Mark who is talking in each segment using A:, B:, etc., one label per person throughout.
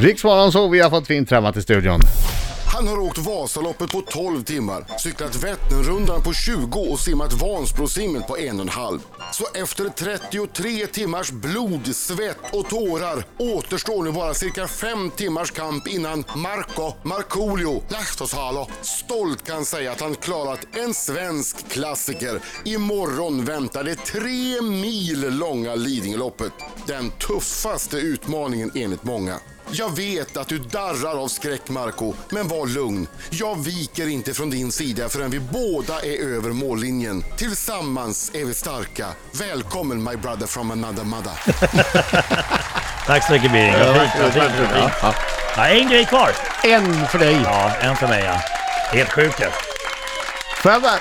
A: Riks Morgonzoo, vi har fått fint trämmat i studion.
B: Han har åkt Vasaloppet på 12 timmar, cyklat Vätternrundan på 20 och simmat Vansbrosimmet på en och en halv. Så efter 33 timmars blod, svett och tårar återstår nu bara cirka 5 timmars kamp innan Marco Markoolio Lahtosalo stolt kan säga att han klarat en svensk klassiker. Imorgon väntar det tre mil långa Lidingöloppet. Den tuffaste utmaningen enligt många. Jag vet att du darrar av skräck, Marco, men var lugn. Jag viker inte från din sida förrän vi båda är över mållinjen. Tillsammans är vi starka. Välkommen, my brother from another mother.
C: Tack så mycket Birgit. Fint, fint, fint. Ja, en grej kvar.
A: En för dig.
C: Ja, en för mig ja. Helt sjukt ju.
A: Får jag bara,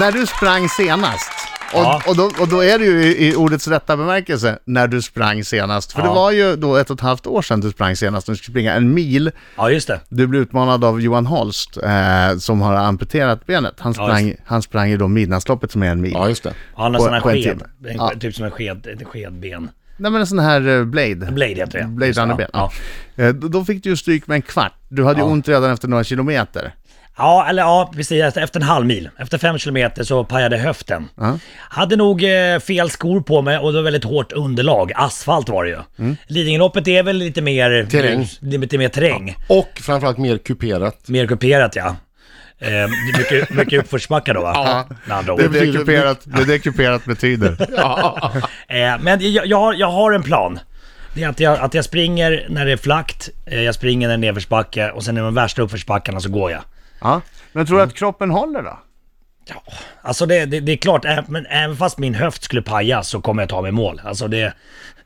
A: när du sprang senast, och,
C: Ja.
A: och, då, och då är det ju i, i ordets rätta bemärkelse, när du sprang senast. För det
C: Ja.
A: var ju då ett och ett halvt år sedan du sprang senast, när du skulle springa en mil.
C: Ja, just det.
A: Du blev utmanad av Johan Holst, eh, som har amputerat benet. Han sprang, han sprang ju då Midnattsloppet som är en mil.
D: Ja, just det.
C: Han har
A: På-
C: sådana
A: på en
C: sked,
A: timme.
C: en,
A: Ja.
C: typ som en sked, ett skedben.
A: Nej men en sån här eh, Blade.
C: Blade heter det.
A: Blade
C: Just det,
A: runner ben. Ja. Eh, Då, då fick du ju stryk med en kvart. Du hade ju ont redan efter några kilometer.
C: Ja, eller ja, precis. Efter en halv mil. Efter fem kilometer så pajade höften. Hade nog eh, fel skor på mig och det var väldigt hårt underlag. Asfalt var det ju. Lidingöloppet är väl lite mer...
D: Terräng.
C: Lite mer terräng.
D: Och framförallt mer kuperat.
C: Mer kuperat ja. Eh, det är mycket, mycket uppförsbackar då va? Ja. Med andra ord.
A: Det är
D: betyder-
A: det kuperat, det är det kuperat betyder.
C: Eh, men jag, jag, har, jag har en plan. Det är att jag, att jag springer när det är flackt, eh, jag springer när det är nedförsbacke och sen i de värsta uppförsbackarna så går jag.
A: Ja. Men tror du att kroppen håller då?
C: Ja, alltså det, det, det är klart, ä- men även fast min höft skulle paja så kommer jag ta mig i mål. Alltså det... s-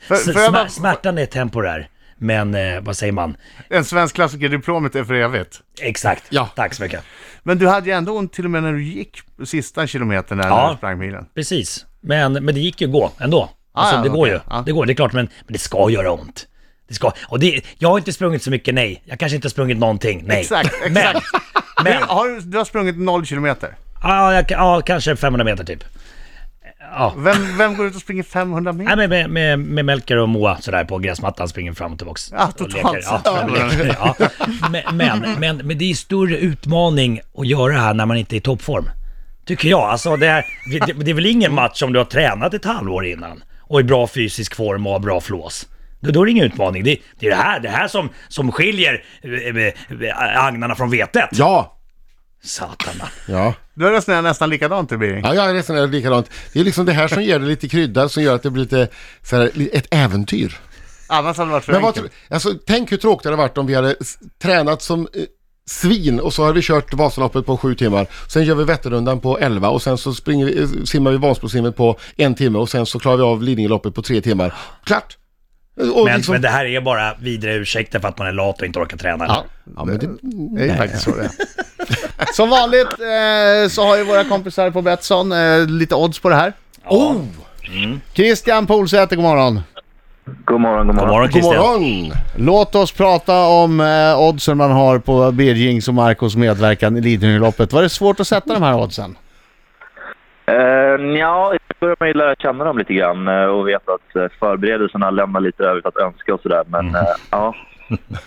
A: får jag
C: smär,
A: bara-
C: smärtan är temporär, men eh, vad säger man?
A: En svensk klassiker-diplomet är för evigt.
C: Exakt.
D: Ja.
C: Tack så mycket.
A: Men du hade ju ändå ont till och med när du gick sista kilometern där när
C: Ja.
A: du sprang milen.
C: Precis. Men, men det gick ju att gå ändå. Alltså,
A: Ah, ja,
C: det går
A: okej.
C: ju.
A: Ja.
C: Det går, det är klart. Men, men det ska göra ont. Det ska. Och det, jag har inte sprungit så mycket, nej. Jag kanske inte har sprungit någonting, nej.
A: Exakt, exakt.
C: Men, men
A: Har du, du har sprungit noll kilometer.
C: ja, jag, ja, kanske 500 meter typ. Ja.
A: Vem, vem går ut och springer 500 meter?
C: Nej, men med, med, med Melker och Moa sådär på gräsmattan springer fram och tillbaks.
A: Ja,
C: och
A: totalt
C: leker.
A: sett.
C: Ja, leker, ja. Men, men, men, men det är större utmaning att göra det här när man inte är i toppform. Tycker jag. Alltså, det, är, det, det är väl ingen match om du har tränat ett halvår innan och i bra fysisk form och har bra flås. Då, då är det ingen utmaning. Det, det är det här, det här som, som skiljer äh, agnarna från vetet.
D: Ja!
C: Satana.
D: Ja.
A: Du har resonerat nästan likadant du Birging.
D: Ja, jag resonerar likadant. Det är liksom det här som ger det lite krydda, som gör att det blir lite, så här, li- ett äventyr.
A: Annars hade det varit för
D: Men vad,
A: enkelt.
D: tro- alltså, tänk hur tråkigt det hade varit om vi hade s- tränat som eh, svin och så hade vi kört Vasaloppet på sju timmar. Sen gör vi Vätternrundan på elva och sen så springer vi, eh, simmar vi Vansbrosimmet på en timme och sen så klarar vi av Lidingöloppet på tre timmar. Klart! Och
C: Men,
D: liksom-
C: men det här är bara vidare ursäkter för att man är lat och inte orkar träna.
D: ja, ja, men det,
A: Det är ju faktiskt så det är. Som vanligt eh, så har ju våra kompisar på Betsson eh, lite odds på det här.
D: oh,
A: Christian Polsäter, god morgon.
E: God morgon,
C: God
E: god morgon.
C: morgon
D: god
C: Christian.
D: morgon!
A: Låt oss prata om eh, oddsen man har på Birgings och Marcos medverkan i Lidingöloppet. Var det svårt att sätta de här oddsen?
E: Eh, ja, jag börjar man ju lära känna dem lite grann eh, och veta att eh, förberedelserna lämnar lite övrigt att önska och sådär. Men eh,
C: Mm.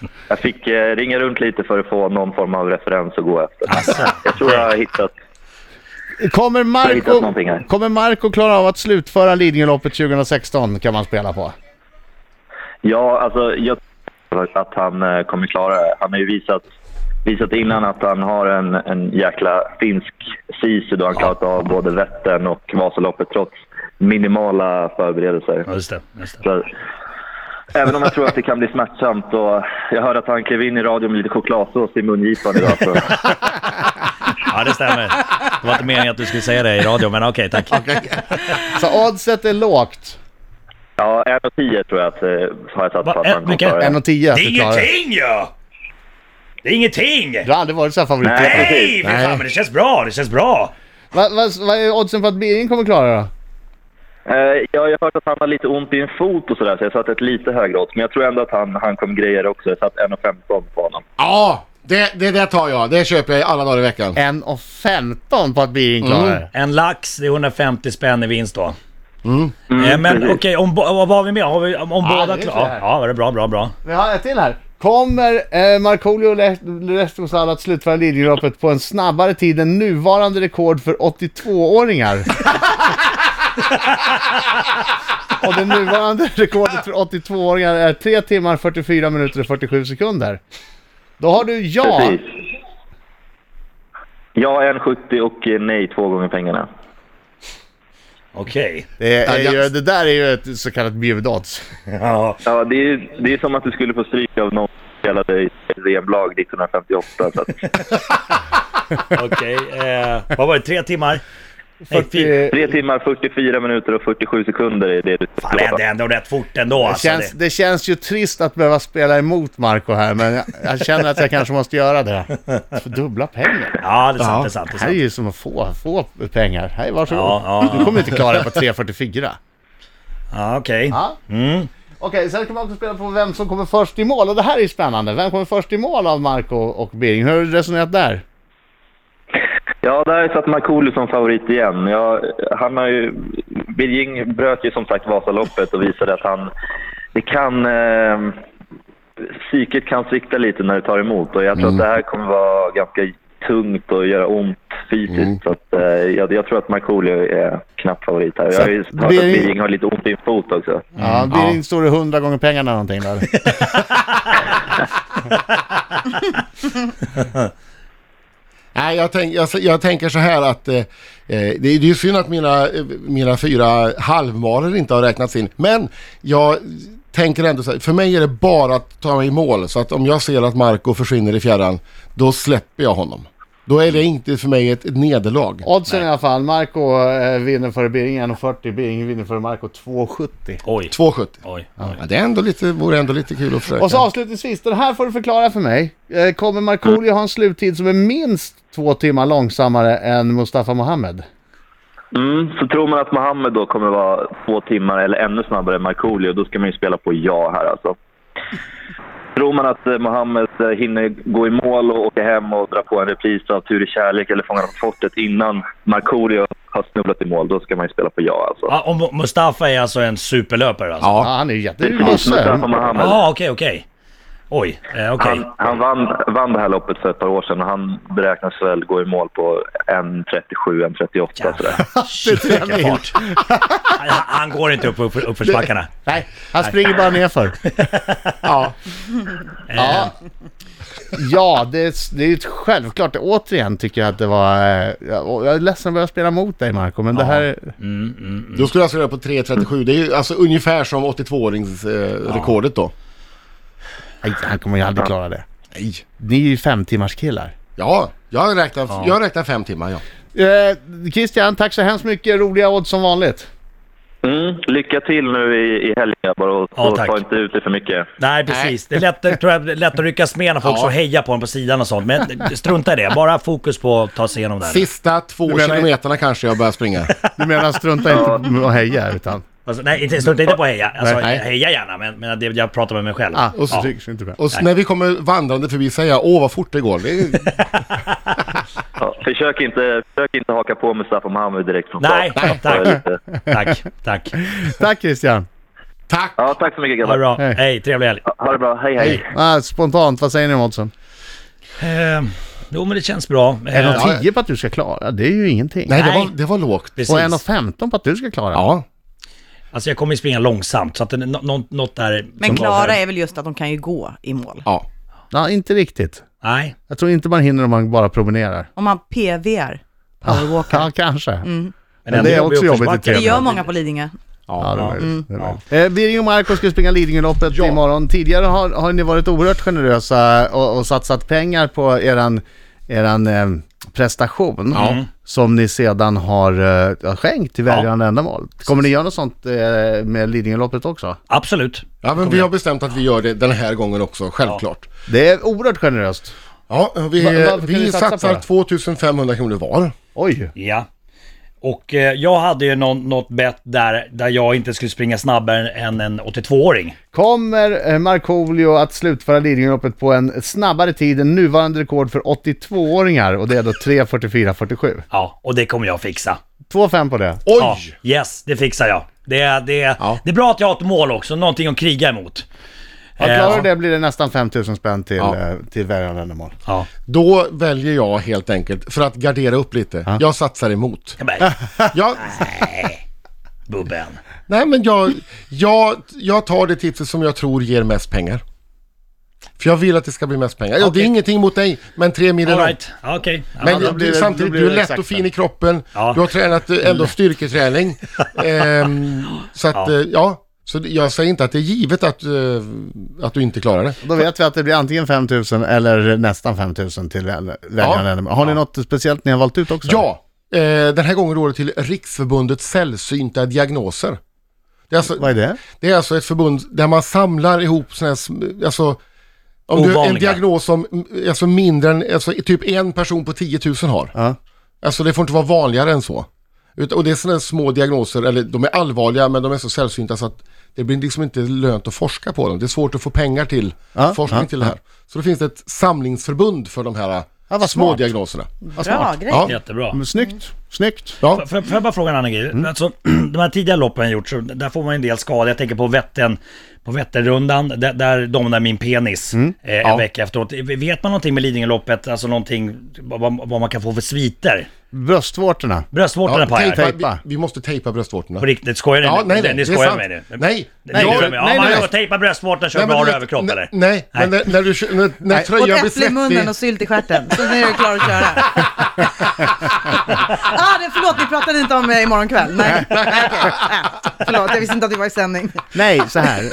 E: ja, jag fick eh, ringa runt lite för att få någon form av referens att gå efter. Jag tror jag har hittat.
A: Kommer
E: har hittat
A: Marco,
E: någonting här.
A: kommer Marco klara av att slutföra Lidingöloppet 2016 kan man spela på.
E: Ja, alltså jag tror att han eh, kommer klara det. Han har ju visat, visat innan att han har en, en jäkla finsk sisu då han klarat av både Vättern och Vasaloppet trots minimala förberedelser.
C: Ja, just det. Just det.
E: Så, även om jag tror att det kan bli smärtsamt. Och jag hörde att han klev in i radion med lite chokladsås i mungipan idag. Så.
C: Ja, det stämmer. Det var inte meningen att du skulle säga det i radio, men okej, tack.
A: Så oddset är lågt.
E: Ja, 1,10 tror jag att, eh, har jag satt
C: Va,
E: på att
C: eh,
E: han kommer
C: Mikael?
E: klara det.
A: 1,10 att
C: Det är
A: du klarar det.
C: ingenting ju! Det är ingenting!
A: Du har aldrig varit så här favorittippad.
E: Nej.
C: Nej, för fan, men det känns bra, det känns bra!
A: Vad va, vad är oddsen för att Birging kommer klara det då?
E: Eh, ja, jag har hört att han har lite ont i en fot och sådär, så jag satte ett lite högre odds. Men jag tror ändå att han, han kommer greja det också. Jag satt 1,15 på honom.
D: Ja, det, det, det tar jag. Det köper jag alla dagar i veckan.
A: 1,15 på att Birging klarar det.
C: En lax, det är 150 spänn i vinst då.
A: Mm.
C: Eh, men okej, om bo- vad har vi med? Har vi, om, om båda
A: det är
C: klarar...
A: så här.
C: Ja, det är bra, bra, bra.
A: Vi har ett till här. Kommer eh, Markoolio Le- Restosal att slutföra Lidingöloppet på en snabbare tid än nuvarande rekord för 82-åringar? Och det nuvarande rekordet för 82-åringar är 3 timmar 44 minuter och 47 sekunder. Då har du ja.
E: Precis. Ja, 1,70 och eh, nej, två gånger pengarna.
C: Okej.
A: Det, är
D: Ja,
A: ju,
D: jag-
A: det där är ju ett så kallat bjudodds.
C: Ja.
E: Ja, det är, det är som att du skulle få stryk av någon som spelade i VM-lag 1958. Så att,
C: Okej. Eh, vad var det? Tre timmar? Nej, fyra.
A: Det,
E: 3 timmar, 44 minuter och 47 sekunder är det du
C: Fan, det är ändå rätt fort ändå alltså.
A: känns, det känns ju trist att behöva spela emot Marco här, men jag, jag känner att jag kanske måste göra det. För dubbla pengar.
C: Ja, det är sant.
D: Ja.
C: Det är sant. Det är
A: Det här är
C: sant.
A: ju som att få, få pengar. Hej, varsågod.
C: Ja, ja.
A: Du kommer inte klara det på 3.44.
C: Ja, okej.
A: Ja. Okej, sen kan man också spela på vem som kommer först i mål. Och det här är ju spännande. Vem kommer först i mål av Marco och Birging? Hur har du resonerat där?
E: Ja, där satt Markoolio som favorit igen. Ja, han har ju... Birging bröt ju som sagt Vasaloppet och visade att han... Det kan... Eh, psyket kan svikta lite när det tar emot och jag tror att det här kommer vara ganska tungt och göra ont fysiskt. Så att, eh, jag, jag tror att Markoolio är knapp favorit här. Jag har ju hört att
A: Birging-
E: Birging har lite ont i en fot också.
A: Mm. Ja, Birging står det 100 gånger pengarna någonting där.
D: Nej, jag, tänk, jag, jag tänker så här att eh, eh, det, är- det är ju synd att mina, eh, mina fyra halvmaror inte har räknats in. Men jag tänker ändå så här, för mig är det bara att ta mig i mål. Så att om jag ser att Marco försvinner i fjärran, då släpper jag honom. Då är det inte för mig ett, ett nederlag.
A: Oddsen i alla fall. Marco eh, vinner före Birging 1.40. Birging vinner före Marco 2.70.
C: Oj.
D: 2,70.
C: Oj.
D: Ja, det är ändå lite, vore ändå lite kul att försöka.
A: Och så avslutningsvis, den här får du förklara för mig. Eh, Kommer Markoolio ha en sluttid som är minst två timmar långsammare än Mustafa Mohamed?
E: Mm, så tror man att Mohammed då kommer vara två timmar eller ännu snabbare än Markoolio, då ska man ju spela på ja här alltså. Tror man att eh, Mohammed eh, hinner gå i mål och åka hem och dra på en repris av Tur i kärlek eller Fångarna på fortet innan Markoolio har snubblat i mål, då ska man ju spela på ja alltså.
C: Ja, och Mu- Mustafa är alltså en superlöpare alltså?
A: Ja,
D: Ja.
A: han är ju jätte...
E: Precis, Mustafa
A: Musse.
E: Mohammed.
C: Ja, okej, okej. Oj, eh, okej.
E: Han, han vann, vann det här loppet för ett par år sedan och han beräknas väl gå i mål på 1.37-1.38 sådär.
C: Shit, vilken fart. Han, han går inte upp upp- uppförsbackarna.
A: Nej, han springer bara nerför.
D: Ja.
A: Ja, ja det, är, det är ju ett självklart. Återigen tycker jag att det var... eh, Jag och jag är ledsen att börja spela mot dig Marco, men det här...
D: Då skulle jag alltså göra på 3.37. Det är ju alltså ungefär som 82-åringsrekordet då.
A: Nej, han kommer ju aldrig klara det.
D: Nej.
A: Ni är ju femtimmarskillar.
D: Ja, jag räknar, jag räknar fem timmar ja.
A: Eh, Christian, tack så hemskt mycket. Roliga odds som vanligt.
E: Mm, lycka till nu i, i helgen grabbar och,
C: Ja,
E: och
C: tack.
E: ta inte ut det för mycket.
C: Nej, precis. Det är lätt, tror jag, det är lätt att ryckas med när folk
D: Ja.
C: står och hejar på en på sidan och sånt. Men strunta i det. Bara fokus på att ta sig igenom det här.
D: Sista två
A: menar-
D: kilometerna kanske jag börjar springa.
A: Du menar strunta inte med att heja utan...
C: Alltså, nej, inte, strunta inte på att heja. Alltså,
A: Nej.
C: heja gärna, men, men det, jag pratar med mig själv.
A: Ah,
D: och så
A: ja.
D: tycker
A: inte bra.
D: Och så när vi kommer vandrande förbi säger jag åh vad fort det går. Det är,
E: Ja, försök, inte, försök inte haka på Mustafa Mohamed direkt från
C: Nej, tack.
E: start. Det är lite-
C: Tack, tack.
A: Tack Christian.
D: tack!
E: Ja, tack så mycket
C: Ha det
E: grabbar.
C: bra.
A: Hej.
C: Hej, trevlig helg.
E: Ha det bra. Hej, hej.
A: Ah, spontant, vad säger ni om oddsen?
C: Eh, jo, men det känns bra. Eh,
A: 1,10 på att du ska klara, det är ju ingenting.
D: Nej,
C: Nej.
D: Det, var, det var lågt.
A: Och
C: precis.
A: 1,15 på att du ska klara.
D: Ja.
C: Alltså, jag kommer ju springa långsamt, så att det, nå- nå- något där...
F: Men
C: som-
F: Klara är väl just att de kan ju gå i mål.
D: ja.
A: Ja, inte riktigt.
C: Nej.
A: Jag tror inte man hinner om man bara promenerar.
F: Om man PVR,
A: Ah,
F: powerwalker.
A: Ja, kanske.
C: Men,
A: det
C: ändå
A: är
C: jobbig
A: också jobbigt i
C: uppförsbacke.
F: Det
A: tre
F: gör många på Lidingö.
A: Ja, det är
C: Ja.
A: möjligt. Det är möjligt. Eh, Birging och Marco ska springa Lidingöloppet imorgon. Tidigare har, har ni varit oerhört generösa och, och satsat pengar på eran, eran eh, prestation. Som ni sedan har eh, skänkt till välgörande ändamål. Kommer ni göra något sånt eh, med Lidingöloppet också?
C: Absolut.
D: ja, men vi har bestämt att vi gör det den här gången också, självklart.
A: Det är oerhört generöst.
D: Ja, vi,
A: Va- varför kan ni
D: vi
A: satsa på det?
D: satsar 2500 kronor var.
A: Oj!
C: Ja. Och eh, jag hade ju någon, något bett där, där jag inte skulle springa snabbare än en 82-åring.
A: Kommer eh, Markoolio att slutföra Lidingöloppet på en snabbare tid än nuvarande rekord för 82-åringar? Och det är då 3.44.47.
C: Ja, och det kommer jag fixa.
A: 2.5 på det.
D: Oj!
C: Ja, yes, det fixar jag. Det, är- det, är-
D: Ja.
C: det är bra att jag har ett mål också, någonting att kriga emot. Eh,
A: Ja, klarar du det blir det nästan 5000 spänn till,
D: Ja.
A: eh, till välgörendeändamål.
C: Ja.
D: Då väljer jag helt enkelt, för att gardera upp lite, jag satsar emot.
C: Ja, men,
D: Jag,
C: Bubben.
D: nej men jag, jag, jag tar det tipset som jag tror ger mest pengar. För jag vill att det ska bli mest pengar. Ja, Det
C: Okej.
D: är ingenting mot dig, men tre mil är
C: All
D: långt.
C: right. Ja, Okej. Ja,
D: Men
A: då blir
D: du,
A: det-
D: samtidigt,
A: då blir
D: du är
A: det
D: lätt
A: exakt Mm.
D: och fin
A: den.
D: i kroppen.
C: Ja.
D: Du har tränat eh, ändå styrketräning. Ehm, så att, eh, ja. Så det- jag säger inte att det är givet att, eh, att du inte klarar det.
A: Då vet vi att det blir antingen 5000 eller nästan 5000 till väl- välgörendeändamål. Har ni något speciellt ni har valt ut också?
D: Ja, eh, den här gången går det till Riksförbundet sällsynta diagnoser. Det är, alltså,
A: Vad är det?
D: det är alltså ett förbund där man samlar ihop sådana här, sm- alltså om du en
C: Ovanliga.
D: diagnos som mm, alltså mindre än, alltså typ en person på 10 000 har.
A: Ja.
D: Alltså det får inte vara vanligare än så. Ut- Och det är sådana små diagnoser, eller de är allvarliga men de är så sällsynta så att det blir liksom inte lönt att forska på dem. Det är svårt att få pengar till
A: Ja,
D: forskning
A: ja,
D: till det här. Så då finns det ett samlingsförbund för de här
A: Ja, vad
D: små
A: smart.
D: diagnoserna.
F: Bra grej.
D: Ja,
C: Jättebra.
A: Men Snyggt, snyggt.
D: ja.
C: Får får jag bara fråga en annan grej?
D: Mm.
C: Alltså, de här tidiga loppen jag gjort, så där får man en del skada. Jag tänker på Vättern, på Vätternrundan, där, där domnade min penis
D: Mm.
C: eh, en vecka efteråt. Vet man någonting med Lidingöloppet, alltså någonting, vad, vad man kan få för sviter?
A: Bröstvårtorna.
C: Bröstvårtorna
D: Ja,
C: pajar.
D: tejpa, vi,
A: Tejpa.
D: vi måste tejpa bröstvårtorna.
C: På riktigt, skojar ni?
D: Ja, nej, nej,
C: ni
D: det är
C: skojar
D: sant.
C: med det.
D: Nej.
C: Nej,
A: Nej,
C: nej,
A: för-
C: ja,
A: nej,
C: man
A: nej.
C: får tejpa bröstvårtorna, kör
D: Nej, men
C: bra
D: du vet-
C: överkropp eller?
D: Nej, men när, när, du, när, när
F: Och
D: tröjan blir
F: äpple i munnen
D: svettig.
F: och sylt i stjärten. Så nu är du klar att köra. ah, det, förlåt, vi pratade inte om eh, imorgon kväll. Nej, Nej, okej. Ah, förlåt, jag visste inte att vi var i sändning.
A: Nej, så här.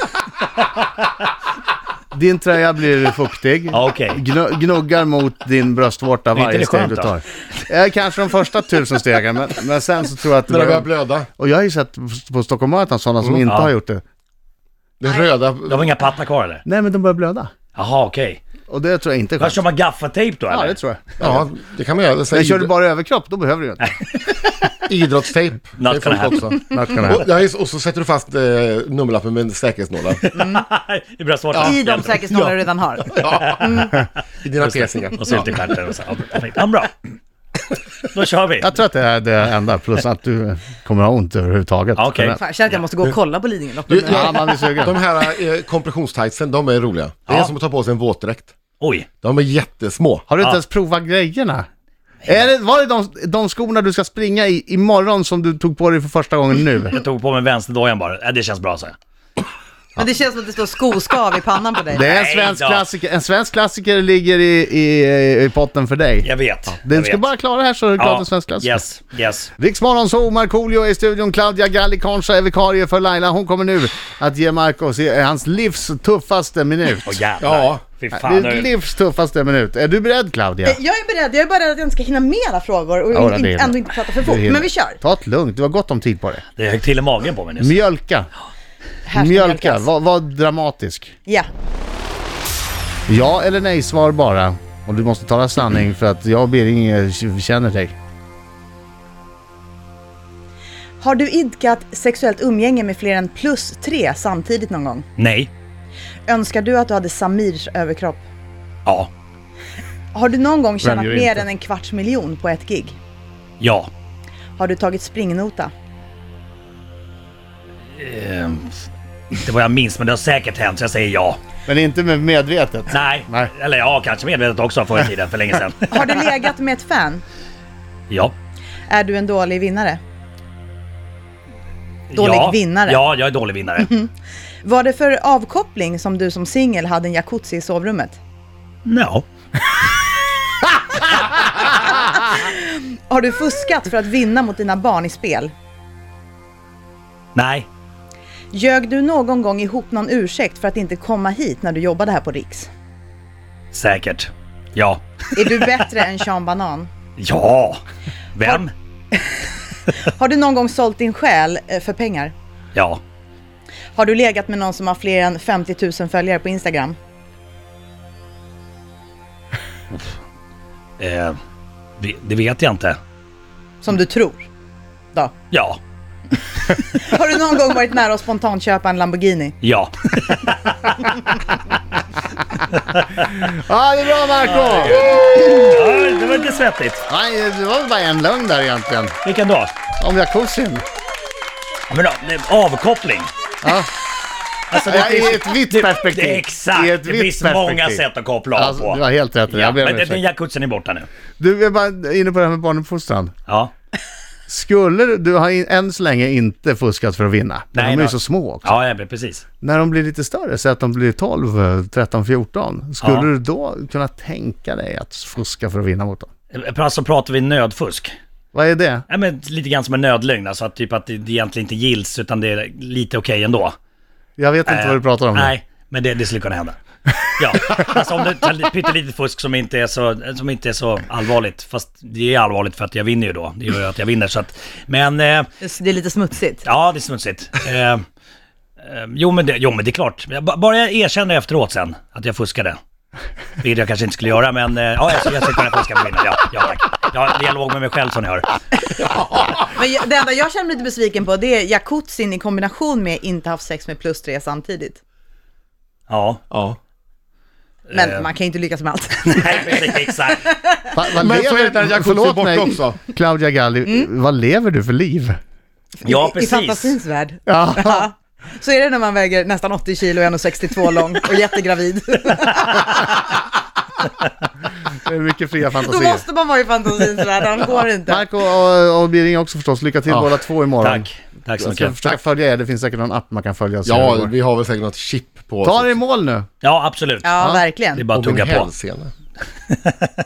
A: Din tröja blir fuktig.
C: Ja, okej.
A: Gnu- gnuggar mot din bröstvårta
C: Det är inte
A: varje
C: det
A: steg
C: skönt
A: du
C: då?
A: tar. Eh, kanske de första tusen stegen, men, men sen så tror jag att det
D: När det börjar
A: börjar...
D: blöda.
A: Och jag har ju sett på Stockholm Marathon sådana som inte
C: Ja.
A: har gjort det.
D: Det röda.
C: De har inga pattar kvar eller?
A: Nej, men de börjar blöda.
C: Jaha, okej.
A: Och det tror jag inte är
C: Vad
A: skönt.
C: kör man gaffatejp då
A: Ja,
C: eller?
A: det tror jag.
D: Ja, det kan man göra. Så
A: Men kör du
D: id-
A: bara överkropp, då behöver du ju inte.
D: Idrottstejp. Det
C: gonna
D: är folk
C: happen.
D: också.
A: Nationell.
D: Och, ja, just- och så sätter du fast eh, nummerlappen med en säkerhetsnåla
C: I
A: Ah,
C: bröstvårtan.
F: I de säkerhetsnålar du redan har.
D: i dina piercingar.
C: Och sylt i stjärten och så. Ja, perfekt. Ja, bra. Då kör vi.
A: Jag tror att det är det enda, plus att du kommer ha ont överhuvudtaget.
C: Ja, okej.
F: Fan, jag känner att jag måste gå och kolla på Lidingöloppet
D: Du,
F: nu.
A: Ja, man blir
D: De
A: sugen.
D: här eh, kompressionstijtsen, de är roliga. Det är
C: Ja.
D: som att ta på sig en våtdräkt.
C: Oj.
D: De är jättesmå.
A: Har du inte ens provat grejerna? Är det, var det de, de skorna du ska springa i imorgon som du tog på dig för första gången nu?
C: Jag tog på mig vänsterdojan bara. Ja, det känns bra så.
F: Men det känns som att det står skoskav i pannan på dig.
A: Det är en
C: Nej
A: svensk
C: då.
A: klassiker, en svensk klassiker ligger i, i, i potten för dig.
C: Jag vet. Ja,
A: Du ska bara alltså. klara det här så är du klar till svensk klassiker.
C: Yes, yes.
A: Riksmorgon så Markoolio är i studion, Claudia Galli Concha är vikarie för Laila. Hon kommer nu att ge Marcos i- hans livs tuffaste minut.
C: Åh jävlar.
D: Ja.
C: Fy
A: Det
C: fan.
A: är
C: Nu.
A: livs tuffaste minut. Är du beredd Claudia?
F: Eh, Jag är beredd, jag är bara rädd att jag inte ska hinna med alla frågor och
A: Ja, det är
F: inte,
A: det.
F: ändå inte prata för
A: Du
F: fort.
A: hinner.
F: Men vi kör.
A: Ta det lugnt, du har gott om tid på dig.
C: Det högg till i magen på mig nyss.
A: Mjölka.
F: Här ska
A: Mjölka,
F: mjölkas.
A: var, var dramatisk.
F: Ja.
A: Ja eller nej svar bara. Och du måste tala sanning för att jag och Bering känner dig.
F: Har du idkat sexuellt umgänge med fler än plus tre samtidigt någon gång?
C: Nej.
F: Önskar du att du hade Samirs överkropp?
C: Ja.
F: Har du någon gång tjänat
A: gör
F: mer
A: inte?
F: än en kvarts miljon på ett gig?
C: Ja.
F: Har du tagit springnota?
C: Ehm, Inte vad jag minns, men det har säkert hänt så jag säger ja.
A: Men inte med medvetet.
C: Nej.
A: Nej.
C: Eller ja, kanske medvetet också förr i tiden, för länge sedan.
F: Har du legat med ett fan?
C: Ja.
F: Är du en dålig vinnare? Dålig
C: ja.
F: vinnare. Mhm.
C: Ja, jag är dålig vinnare.
F: Var det för avkoppling som du som singel hade en jacuzzi i sovrummet?
C: Ja.
F: Har du fuskat för att vinna mot dina barn i spel?
C: Nej.
F: Ljög du någon gång ihop någon ursäkt för att inte komma hit när du jobbade här på Riks?
C: Säkert. Ja.
F: Är du bättre än Sean Banan?
C: Ja. Vem?
F: Har du någon gång sålt din själ eh, för pengar?
C: Ja.
F: Har du legat med någon som har fler än 50 000 följare på Instagram?
C: Eh, vi- Det vet jag inte.
F: Som du tror? Då.
C: Ja.
F: Har du någon gång varit nära att spontant köpa en Lamborghini?
C: Ja.
A: Ja, det är bra Marco!
C: Ja, Det var lite svettigt.
A: Nej, det var väl bara en lögn där egentligen.
C: Vilken dag?
A: Om jacuzzin.
C: Ja, Men, då, det är avkoppling.
A: Ja.
C: Alltså, det
A: Ja,
C: finns-
A: i ett vitt
C: det-
A: perspektiv.
C: Det, exakt,
A: I ett
C: det
A: vitt
C: finns många
A: perspektiv.
C: sätt att koppla av
A: Alltså,
C: på.
A: du har helt rätt i det.
C: ja,
A: Jag ber om
C: men den, den
A: ursäkt.
C: jacuzzin är borta nu.
A: Du är bara inne på det här med barnuppfostran.
C: Ja.
A: Skulle du, du har in- än så länge inte fuskat för att vinna. Nej,
C: Nej,
A: de är ju
C: nej.
A: så små också.
C: Ja, ja, men precis.
A: När de blir lite större, säg att de blir 12, eh, 13, 14. Skulle
C: Ja.
A: du då kunna tänka dig att fuska för att vinna mot dem?
C: Alltså pratar vi nödfusk.
A: Vad är det?
C: Ja, men lite grann som en nödlögn, alltså att, typ att det, det egentligen inte gills utan det är lite okej ändå.
A: Jag vet inte
C: Eh,
A: vad du pratar om. nu.
C: Nej, men det, det skulle kunna hända. Ja, alltså om det tar lite- pyttelitet fusk som inte, är så, som inte är så allvarligt. Fast det är allvarligt för att jag vinner ju då. Det gör ju att jag vinner så att... Men... Eh,
F: Det är lite smutsigt.
C: Ja, det är smutsigt. Eh, eh, jo, men det, jo, men det är klart. Jag ba- Bara jag erkänner efteråt sen att jag fuskade. Vilket jag kanske inte skulle göra, men eh, ja, jag skulle jag skulle kunna fuska på vinnaren. Ja, ja, tack. Jag har dialog med mig själv som ni hör.
F: Men jag- det enda jag känner mig lite besviken på det är jacuzzin i kombination med inte haft sex med plus tre samtidigt.
C: Ja,
D: Ja.
F: Men
C: Eh.
F: man kan ju inte lyckas med allt.
C: nej, precis, exakt.
A: Va, vad
D: Men
A: lever-
D: så är det när jacuzzi är
A: förlåt
D: borta
A: mig,
D: också.
A: Claudia Galli,
C: Mm.
A: vad lever du för liv?
C: Ja,
F: I
C: precis.
F: fantasins värld.
A: Ja.
F: Så är det när man väger nästan 80 kilo och är 1,62 lång och jättegravid.
A: Det är mycket fria
F: Då
A: fantasier.
F: måste man vara i fantasins värld, annars går det inte.
A: Marco och, och Birging också förstås. Lycka till
D: Ja.
A: båda två imorgon.
C: Tack. Tack så
A: Jag ska
C: mycket.
A: försöka följa er. Det finns säkert någon app man kan följa. och se hur det
D: ja,
A: går.
D: vi har väl säkert något chip på
A: Ta dig i mål nu.
C: Ja, absolut.
F: Ja,
C: Det är
F: verkligen.
C: bara att
D: Och min
C: tugga på.
D: hälsena.
A: Ja,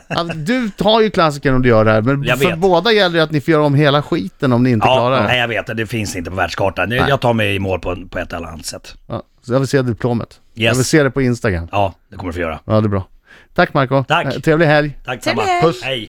A: Alltså, Du tar ju klassiken om du gör det här, men
C: Jag
A: för
C: vet.
A: båda gäller ju att ni får göra om hela skiten om ni inte
C: Ja,
A: klarar
C: nej,
A: det.
C: jag vet. Det finns inte på världskartan. Jag jag tar mig i mål på, på ett eller annat sätt.
A: Ja, så jag vill se diplomet. Jag
C: Yes.
A: vill se det på Instagram.
C: Ja, det kommer du få göra.
A: Ja, det är bra. Tack Marco.
C: Tack.
A: Eh, Trevlig helg.
C: Tack
F: Trevlig
C: samma.
F: helg.
D: Puss.
C: Hej.